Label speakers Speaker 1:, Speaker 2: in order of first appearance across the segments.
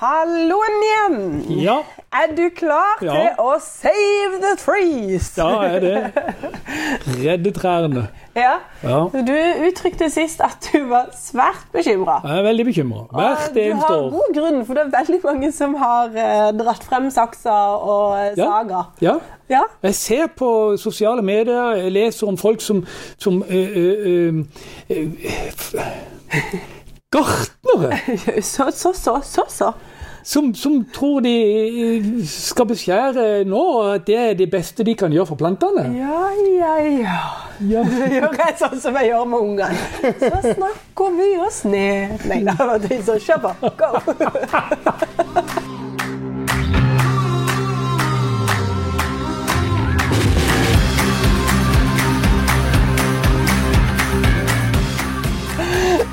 Speaker 1: Halloen igjen!
Speaker 2: Ja,
Speaker 1: Er du klar til
Speaker 2: Ja.
Speaker 1: å save the trees?
Speaker 2: da er det. Redde trærne.
Speaker 1: Ja.
Speaker 2: Ja.
Speaker 1: Du uttrykte sist at du var svært bekymra.
Speaker 2: Jeg er veldig bekymra. Hvert
Speaker 1: Ah, du
Speaker 2: eneste
Speaker 1: har
Speaker 2: år.
Speaker 1: god grunn, for det er veldig mange som har eh, dratt frem saksa og eh,
Speaker 2: Ja.
Speaker 1: saga.
Speaker 2: Ja.
Speaker 1: Ja.
Speaker 2: Jeg ser på sosiale medier, jeg leser om folk som, som eh, eh, eh, eh, f- Gartnere!
Speaker 1: Så, så, så, så, så.
Speaker 2: Som, som tror de eh, skal beskjære nå, og at det er det beste de kan gjøre for plantene.
Speaker 1: Ja, ja, ja.
Speaker 2: Ja.
Speaker 1: Det gjør jeg sånn som jeg gjør med ungene. Så snakker vi oss ned. Nei da, det er så kjør på. Go!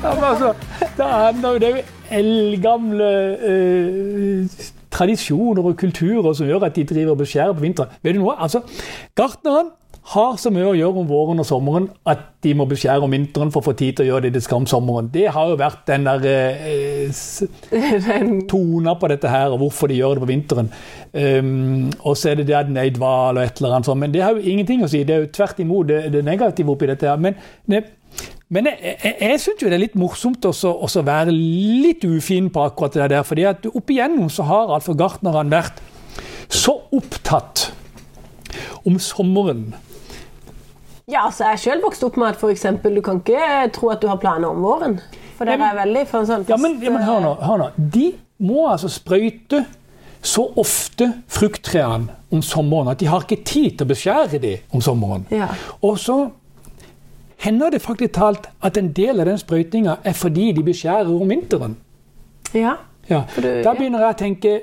Speaker 2: Ja, men altså, det handler jo det er jo eldgamle eh, tradisjoner og kulturer som gjør at de driver og beskjærer på vinteren. Vet du noe? Altså, Gartneren har så mye å gjøre om våren og sommeren at de må beskjære om vinteren for å få tid til å gjøre det de skal om sommeren. Det har jo vært den der eh, s- tona på dette her, og hvorfor de gjør det på vinteren. Um, og så er det det at den er i dval og et eller annet sånt. Men det har jo ingenting å si. Det er jo tvert imot det, det negative oppi dette her. Men, ne, men jeg, jeg, jeg syns jo det er litt morsomt også å være litt ufin på akkurat det der. fordi at opp igjennom så har altså gartnerne vært så opptatt om sommeren.
Speaker 1: Ja, altså Jeg er selv vokst opp med at for eksempel, du kan ikke eh, tro at du har planer om våren. For
Speaker 2: Ja,
Speaker 1: dere
Speaker 2: men-
Speaker 1: er veldig for en sånn
Speaker 2: Ja, men, ja, men hør, nå, hør nå. De må altså sprøyte så ofte frukttrærne om sommeren at de har ikke tid til å beskjære dem om sommeren.
Speaker 1: Ja.
Speaker 2: Og så hender det faktisk talt at en del av den sprøytinga er fordi de beskjærer om vinteren.
Speaker 1: eh, Ja.
Speaker 2: Ja.
Speaker 1: For det-
Speaker 2: Da begynner jeg å tenke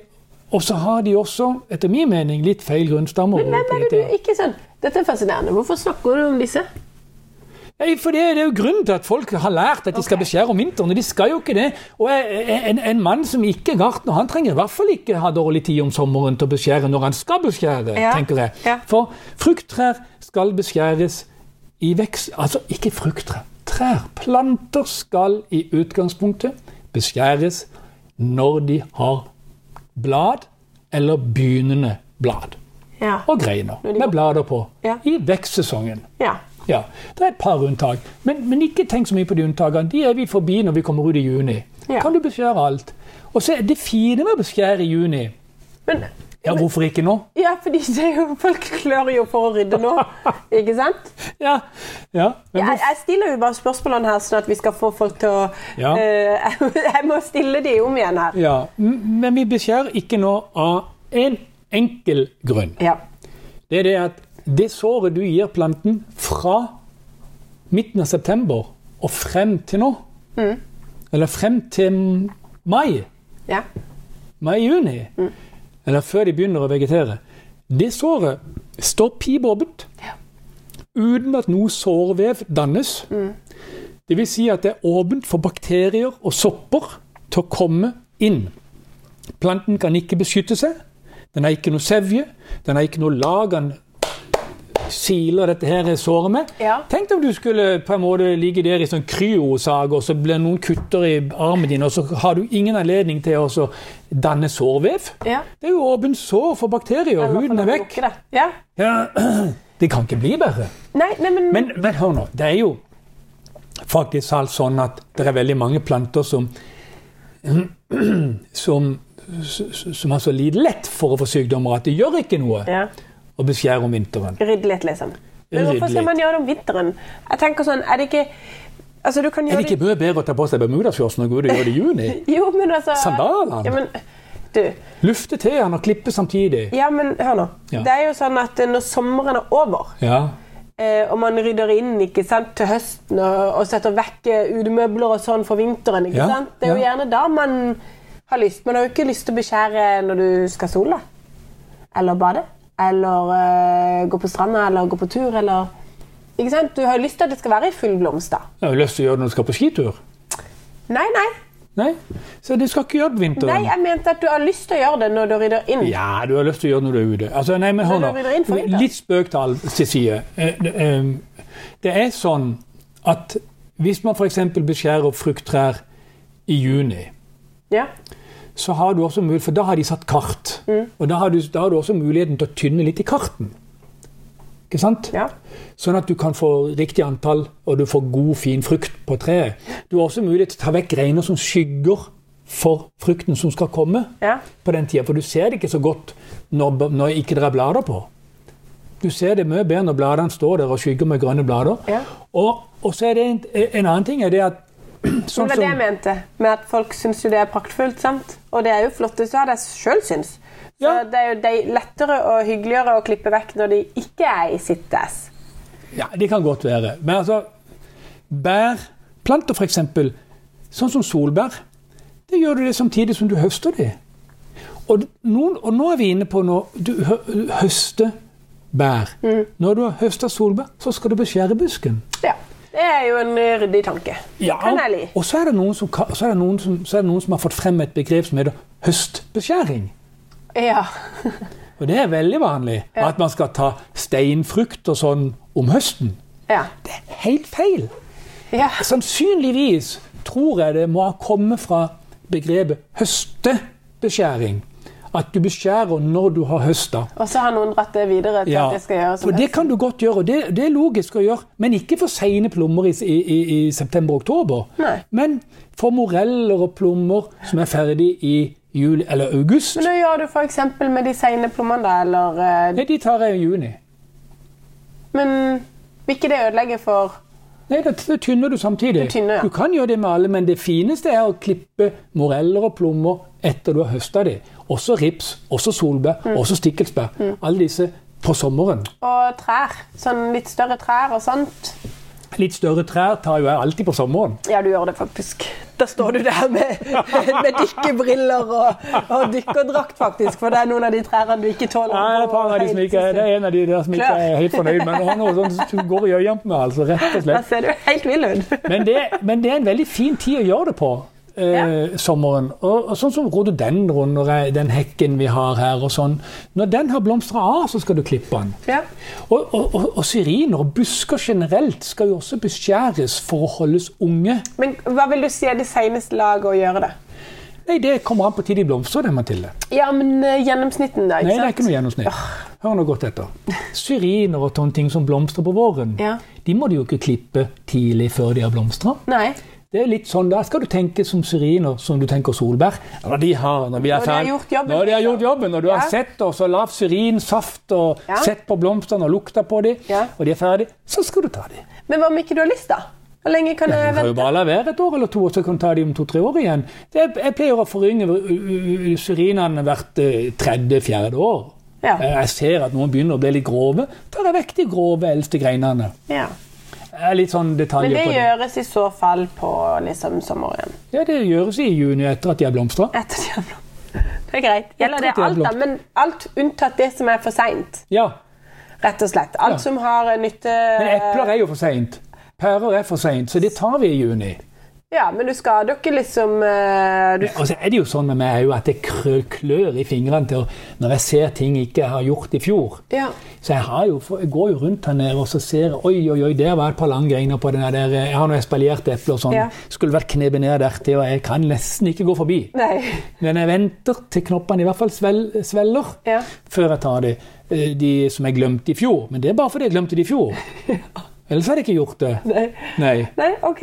Speaker 2: Og så har de også, etter min mening, litt feil grunnstammer.
Speaker 1: Men hvem er det du ikke sånn? Dette er fascinerende. Hvorfor snakker du om disse?
Speaker 2: Nei, for det, det er jo grunnen til at folk har lært at de skal
Speaker 1: Ok.
Speaker 2: beskjære om vinteren. og De skal jo ikke det. Og en, en mann som ikke er gartner, han trenger i hvert fall ikke ha dårlig tid om sommeren til å beskjære når han skal beskjære,
Speaker 1: Ja,
Speaker 2: tenker jeg.
Speaker 1: ja.
Speaker 2: For frukttrær skal beskjæres i vekst Altså ikke frukttrær. Trær, planter, skal i utgangspunktet beskjæres når de har blad eller begynnende blad.
Speaker 1: Ja.
Speaker 2: Og greiner
Speaker 1: de
Speaker 2: med blader på.
Speaker 1: Ja.
Speaker 2: I vekstsesongen.
Speaker 1: ja.
Speaker 2: Ja, det er et par unntak. Men, men ikke tenk så mye på de unntakene. De er vi forbi når vi kommer ut i juni.
Speaker 1: Ja.
Speaker 2: Kan du beskjære alt? Og så er det fine med å beskjære i juni.
Speaker 1: Men,
Speaker 2: Ja, hvorfor ikke nå?
Speaker 1: ja, fordi det er jo, folk klør jo for å rydde nå. Ikke sant?
Speaker 2: Ja, ja. Men
Speaker 1: Jeg, jeg stiller jo bare spørsmålene her, sånn at vi skal få folk til å
Speaker 2: Ja.
Speaker 1: Eh, Jeg må stille de om igjen her.
Speaker 2: hvor- ja. M- Men vi beskjærer ikke nå av en enkel grunn.
Speaker 1: Ja.
Speaker 2: Det er det at det såret du gir planten fra midten av september og frem til nå,
Speaker 1: Mm.
Speaker 2: eller frem til mai,
Speaker 1: ja.
Speaker 2: mai-juni,
Speaker 1: Mm.
Speaker 2: eller før de begynner å vegetere, det såret står pip åpent. Uten at noe sårvev dannes. Det vil si at det er åpent for bakterier og sopper til å komme inn. Planten kan ikke beskytte seg. Den har ikke noe sevje. Den har ikke noe lag den siler dette her såret med.
Speaker 1: Ja.
Speaker 2: Tenk om du skulle på en måte ligge der i sånn kryosag, og så blir det noen kutter i armen din, og så har du ingen anledning til å så danne sårvev.
Speaker 1: Ja.
Speaker 2: Det er jo åpent sår for bakterier.
Speaker 1: Eller
Speaker 2: Huden
Speaker 1: for
Speaker 2: er
Speaker 1: å
Speaker 2: vekk.
Speaker 1: lukke det. Ja.
Speaker 2: Ja, det kan ikke bli bedre.
Speaker 1: Nei, nei, men,
Speaker 2: Men, men hør nå, det er jo faktisk alt sånn at det er veldig mange planter som som, som har så lite lett for å få sykdommer at det gjør ikke noe
Speaker 1: ja.
Speaker 2: å beskjære om vinteren.
Speaker 1: Rydde litt, liksom. Men
Speaker 2: Rydde
Speaker 1: hvorfor skal
Speaker 2: litt.
Speaker 1: man gjøre det om vinteren? Jeg tenker sånn, er det ikke Altså, du kan
Speaker 2: Er
Speaker 1: gjøre
Speaker 2: det ikke mye bedre å ta på seg bermudashortsen og gå ut og gjøre det i juni?
Speaker 1: Jo, men altså
Speaker 2: Sandalene?
Speaker 1: Ja, men du
Speaker 2: Lufte tærne og klippe samtidig.
Speaker 1: Ja, men hør nå.
Speaker 2: Ja.
Speaker 1: Det er jo sånn at når sommeren er over,
Speaker 2: Ja.
Speaker 1: eh, og man rydder inn ikke sant, til høsten og, og setter vekk eh, utemøbler og sånn for vinteren, ikke
Speaker 2: Ja,
Speaker 1: sant? Det er jo
Speaker 2: ja.
Speaker 1: gjerne da man har lyst. Man har jo ikke lyst til å beskjære når du skal sole. Eller bade. Eller eh, gå på stranda, eller gå på tur, eller Ikke sant? Du har jo lyst til at det skal være i full blomst, da.
Speaker 2: Jeg har jo lyst til å gjøre det når du skal på skitur.
Speaker 1: Nei, nei.
Speaker 2: Nei, så du skal ikke gjøre det på
Speaker 1: Nei,
Speaker 2: vinteren.
Speaker 1: jeg mente at du har lyst til å gjøre det når du rydder inn.
Speaker 2: Ja, du har lyst til å gjøre det når du er ute. Altså, nei, men hør
Speaker 1: Men da blir det innenfor
Speaker 2: nå.
Speaker 1: vinteren.
Speaker 2: Litt spøk til all- til side. Eh, det, eh, Det er sånn at hvis man f.eks. beskjærer frukttrær i juni,
Speaker 1: Ja.
Speaker 2: så har du også mulighet, for da har de satt kart.
Speaker 1: Mm.
Speaker 2: Og da har, du, da har du også muligheten til å tynne litt i karten. Ikke sant?
Speaker 1: Ja.
Speaker 2: Sånn at du kan få riktig antall, og du får god, fin frukt på treet. Du har også mulighet til å ta vekk greiner som skygger for frukten som skal komme
Speaker 1: Ja.
Speaker 2: på den tida, for du ser det ikke så godt når, b- når ikke det er blader på. Du ser det mye bedre når bladene står der og skygger med grønne blader.
Speaker 1: Ja.
Speaker 2: Og, og så er det en, en annen ting er det at
Speaker 1: Men
Speaker 2: sånn
Speaker 1: det var det jeg
Speaker 2: som,
Speaker 1: mente, med at folk syns jo det er praktfullt. sant? Og det er jo flotteste av det sjøl syns. Så
Speaker 2: Ja.
Speaker 1: det er jo de lettere og hyggeligere å klippe vekk når de ikke er i sitt ass.
Speaker 2: ja, Det kan godt være. Men altså, bærplanter f.eks., sånn som solbær, det gjør du det samtidig som du høster det. Og, d- noen, og nå er vi inne på når du hø, høster bær.
Speaker 1: Mm.
Speaker 2: Når du har høsta solbær, så skal du beskjære busken.
Speaker 1: Ja. Det er jo en eh, ryddig tanke.
Speaker 2: Ja,
Speaker 1: Kan jeg li.
Speaker 2: og så er, det noen som, ka- så, er det noen som, så er det noen som har fått frem et begrep som heter høstbeskjæring.
Speaker 1: Ja.
Speaker 2: Og det er veldig vanlig. At man skal ta steinfrukt og sånn om høsten.
Speaker 1: ja.
Speaker 2: Det er helt feil.
Speaker 1: ja.
Speaker 2: Sannsynligvis tror jeg det må ha kommet fra begrepet høstebeskjæring. At du beskjærer når du har høsta.
Speaker 1: Og så har noen dratt det videre til at jeg skal gjøre sånn. som
Speaker 2: for det kan du godt gjøre, og det, det er logisk å gjøre. Men ikke for seine plommer i, i, i, i september-oktober.
Speaker 1: Nei.
Speaker 2: Men for moreller og plommer som er ferdig i juli eller august.
Speaker 1: Men nå gjør du f.eks. med de seine plommene, da, eller eh,
Speaker 2: Nei, de tar jeg i juni.
Speaker 1: Men vil ikke det ødelegge for
Speaker 2: Nei, da t- tynner du samtidig.
Speaker 1: Du tynner, ja.
Speaker 2: du kan gjøre det med alle, men det fineste er å klippe moreller og plommer etter du har høsta de. Også rips, også solbær,
Speaker 1: Mm.
Speaker 2: også stikkelsbær. Alle disse på sommeren.
Speaker 1: Og trær. Sånn litt større trær og sånt.
Speaker 2: Litt større trær tar jo jeg alltid på sommeren.
Speaker 1: Ja, du gjør det faktisk. Da står du der med, med dykkerbriller og, og dykkerdrakt, faktisk. For det er noen av de trærne du ikke tåler.
Speaker 2: Nei, det er, et par av de som ikke, er- det er en av de der som ikke er helt fornøyd med det. Noe sånt sånn som går i øynene på meg, altså, rett og
Speaker 1: Da
Speaker 2: slett.
Speaker 1: ser du helt vill ut.
Speaker 2: Men det, men det er en veldig fin tid å gjøre det på. Eh, Sommeren. Og, og sånn som rododendron, når jeg- den hekken vi har her og sånn. Når den har blomstra av, så skal du klippe den.
Speaker 1: Ja.
Speaker 2: Og, og, og, og syriner og busker generelt skal jo også beskjæres for å holdes unge.
Speaker 1: Men hva vil du si er det seneste laget å gjøre det?
Speaker 2: Nei, det kommer an på tid de blomstrer, det, Mathilde.
Speaker 1: Ja, men eh, gjennomsnitten, da.
Speaker 2: Nei,
Speaker 1: Ikke
Speaker 2: det er
Speaker 1: sant?
Speaker 2: ikke noe gjennomsnitt. Hør nå godt etter. Syriner og sånne ting som blomstrer på våren,
Speaker 1: Ja.
Speaker 2: de må du jo ikke klippe tidlig før de har blomstra.
Speaker 1: Nei.
Speaker 2: Det er litt sånn, Der skal du tenke som syriner, som du tenker solbær. Når de har, når
Speaker 1: Når
Speaker 2: vi er
Speaker 1: de har
Speaker 2: ferdig-
Speaker 1: gjort jobben,
Speaker 2: Når de har gjort jobben, når du har
Speaker 1: Ja.
Speaker 2: sett og så lavt syrinsaft og
Speaker 1: Ja.
Speaker 2: sett på blomstene og lukta på dem,
Speaker 1: Ja.
Speaker 2: og de er ferdige, så skal du ta dem.
Speaker 1: Men hva om ikke du har lyst, da? Hvor lenge kan jeg
Speaker 2: Du kan jo
Speaker 1: vente?
Speaker 2: bare la være et år eller to, og så kan du ta dem om to-tre år igjen. Det, er- jeg pleier å forynge uh, uh, syrinene hvert eh, tredje-fjerde år.
Speaker 1: Ja.
Speaker 2: Eh, Jeg ser at noen begynner å bli litt grove. Ta deg vekk de grove, eldste greinene.
Speaker 1: Ja.
Speaker 2: Jeg er litt sånn
Speaker 1: Men
Speaker 2: detaljer
Speaker 1: det
Speaker 2: på det.
Speaker 1: gjøres i så fall på liksom, sommeren.
Speaker 2: Ja, det gjøres i juni etter at de har blomstra.
Speaker 1: Etter diablo. Det er greit. Gjelder det
Speaker 2: Etter
Speaker 1: alt, da?
Speaker 2: Diablo.
Speaker 1: Men alt unntatt det som er for seint.
Speaker 2: Ja,
Speaker 1: Rett og slett. Alt
Speaker 2: Ja.
Speaker 1: som har eh, nytte
Speaker 2: men epler er jo for seint. Pærer er for seint, så det tar vi i juni.
Speaker 1: Ja, men du skader ikke liksom eh, du...
Speaker 2: Og så er det jo sånn med meg er jo at det krø- klør i fingrene til å, når jeg ser ting jeg ikke har gjort i fjor.
Speaker 1: Ja.
Speaker 2: Så jeg, har jo, jeg går jo rundt her nede og så ser jeg, oi, oi, oi, der var et par langgreiner på den der. eh, Jeg har noe espaliert eple og sånn.
Speaker 1: Ja.
Speaker 2: Skulle vært knebet ned dertil, og jeg kan nesten ikke gå forbi.
Speaker 1: Nei.
Speaker 2: Men jeg venter til knoppene i hvert fall svel, svelger
Speaker 1: Ja.
Speaker 2: før jeg tar de, eh, de som jeg glemte i fjor. Men det er bare fordi jeg glemte de i fjor. Ellers hadde jeg ikke gjort det.
Speaker 1: Nei.
Speaker 2: Nei.
Speaker 1: Nei, OK.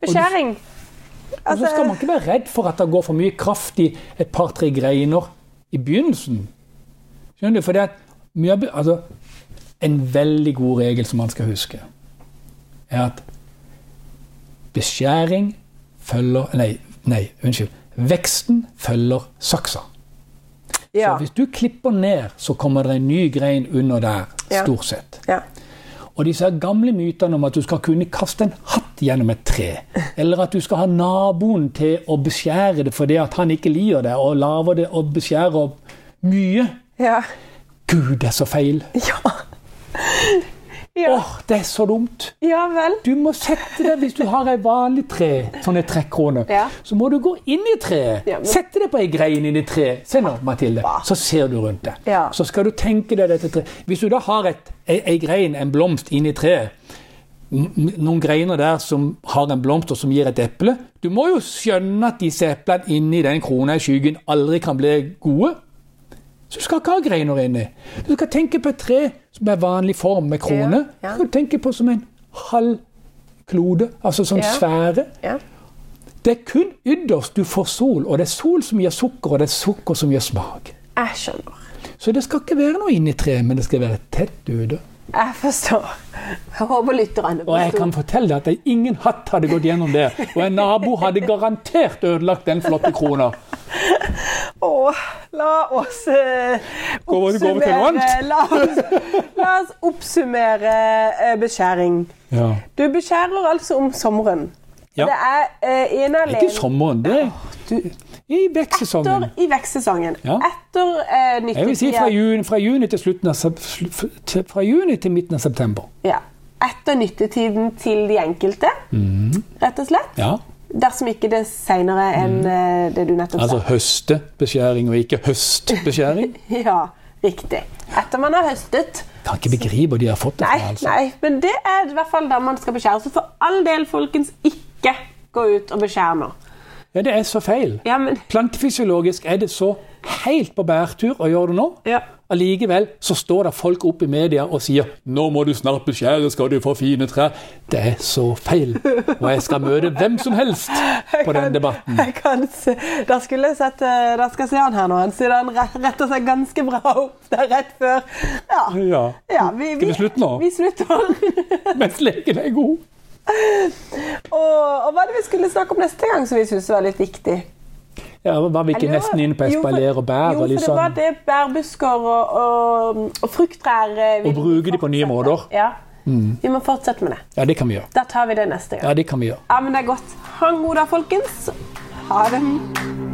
Speaker 1: Beskjæring.
Speaker 2: Og så
Speaker 1: Altså,
Speaker 2: skal man ikke være redd for at det går for mye kraft i et par-tre greiner i begynnelsen. Skjønner du? For det er mye, av be- altså, en veldig god regel som man skal huske, er at beskjæring følger Nei, nei unnskyld. Veksten følger saksa.
Speaker 1: ja.
Speaker 2: Så hvis du klipper ned, så kommer det en ny grein under der,
Speaker 1: Ja.
Speaker 2: stort sett.
Speaker 1: ja.
Speaker 2: Og disse her gamle mytene om at du skal kunne kaste en hatt gjennom et tre, eller at du skal ha naboen til å beskjære det fordi at han ikke liker det, og lager det og beskjærer mye
Speaker 1: Ja.
Speaker 2: Gud, det er så feil!
Speaker 1: Ja.
Speaker 2: Åh,
Speaker 1: Ja.
Speaker 2: det er så dumt!
Speaker 1: ja vel.
Speaker 2: Du må sette deg, hvis du har ei vanlig tre, sånn ei trekkrone,
Speaker 1: Ja.
Speaker 2: så må du gå inn i treet.
Speaker 1: Ja, men- Ah,
Speaker 2: Sette deg på ei grein inn i treet. Se nå, Mathilde, så ser du rundt deg.
Speaker 1: Ja.
Speaker 2: Så skal du tenke deg dette treet. Hvis du da har et, ei, ei grein, en blomst, inn i treet n- noen greiner der som har en blomst og som gir et eple. Du må jo skjønne at disse eplene inni den krona i skyggen aldri kan bli gode. Så du skal ikke ha greiner inni. Du skal tenke på et tre som er vanlig form med krone.
Speaker 1: Ja, ja.
Speaker 2: Du skal tenke på som en halv klode, altså som
Speaker 1: Ja.
Speaker 2: sfære.
Speaker 1: Ja.
Speaker 2: Det er kun ytterst du får sol, og det er sol som gir sukker, og det er sukker som gir smak.
Speaker 1: Jeg skjønner.
Speaker 2: Så det skal ikke være noe inni treet, men det skal være tett ute.
Speaker 1: Jeg forstår. Jeg håper lytterne
Speaker 2: Og jeg kan fortelle deg at det- ingen hatt hadde gått gjennom det, og en nabo hadde garantert ødelagt den flotte krona.
Speaker 1: Åh, la oss eh,
Speaker 2: Går vi- går vi til noe
Speaker 1: oppsummere
Speaker 2: annet?
Speaker 1: la oss, la oss oppsummere eh, beskjæring.
Speaker 2: Ja.
Speaker 1: Du beskjærer altså om sommeren.
Speaker 2: Ja.
Speaker 1: Det er eh, ene
Speaker 2: Ikke i
Speaker 1: alene
Speaker 2: sommeren, det
Speaker 1: du-
Speaker 2: i
Speaker 1: etter
Speaker 2: vekstsesongen.
Speaker 1: i vekstsesongen.
Speaker 2: Ja.
Speaker 1: Etter eh,
Speaker 2: Jeg vil si
Speaker 1: nyttetida.
Speaker 2: fra juni, fra juni til slutten av sep- sl- til- fra juni til midten av september.
Speaker 1: ja. Etter nyttetiden til de enkelte, rett og slett.
Speaker 2: Mhm. Ja, Mhm.
Speaker 1: Dersom ikke det seinere enn eh, det du nettopp
Speaker 2: Altså høstebeskjæring og ikke høstbeskjæring.
Speaker 1: sa. Ja, riktig. Etter man har høstet.
Speaker 2: Kan ikke begripe hvor de har fått det
Speaker 1: Nei,
Speaker 2: fra. altså.
Speaker 1: nei, men det er i hvert fall da man skal beskjære. Så for all del, folkens, ikke gå ut og beskjære nå.
Speaker 2: Ja, det er så feil.
Speaker 1: Ja, men
Speaker 2: Plantefysiologisk er det så helt på bærtur å gjøre det nå.
Speaker 1: Ja.
Speaker 2: Allikevel så står det folk oppe i media og sier 'Nå må du snart beskjære, skal du få fine trær'. Det er så feil. Og jeg skal møte hvem som helst på den debatten.
Speaker 1: Jeg kan se. Da skulle jeg sett eh, Da skal jeg se han her nå. Han sier han re- retter seg ganske bra opp der rett før. Ja.
Speaker 2: Ja.
Speaker 1: ja vi,
Speaker 2: Skal vi slutte nå?
Speaker 1: Vi slutter.
Speaker 2: Mens leken er god.
Speaker 1: og, og hva er det vi skulle snakke om neste gang som vi syntes var litt viktig?
Speaker 2: Ja, var vi ikke
Speaker 1: Jeg lurer-
Speaker 2: nesten inne på
Speaker 1: Jo, for-
Speaker 2: espalier og bær?
Speaker 1: Jo, for
Speaker 2: og litt
Speaker 1: det var
Speaker 2: sånn.
Speaker 1: det bærbusker og, og, og frukttrær eh, vi
Speaker 2: Og Mm. bruke de på nye
Speaker 1: fortsette.
Speaker 2: måter.
Speaker 1: Ja. Vi må fortsette med det.
Speaker 2: Ja, det kan vi gjøre.
Speaker 1: Da tar vi det neste gang.
Speaker 2: Ja, det kan vi gjøre.
Speaker 1: Ja, men det er godt. Ha en god dag, folkens. Ha det.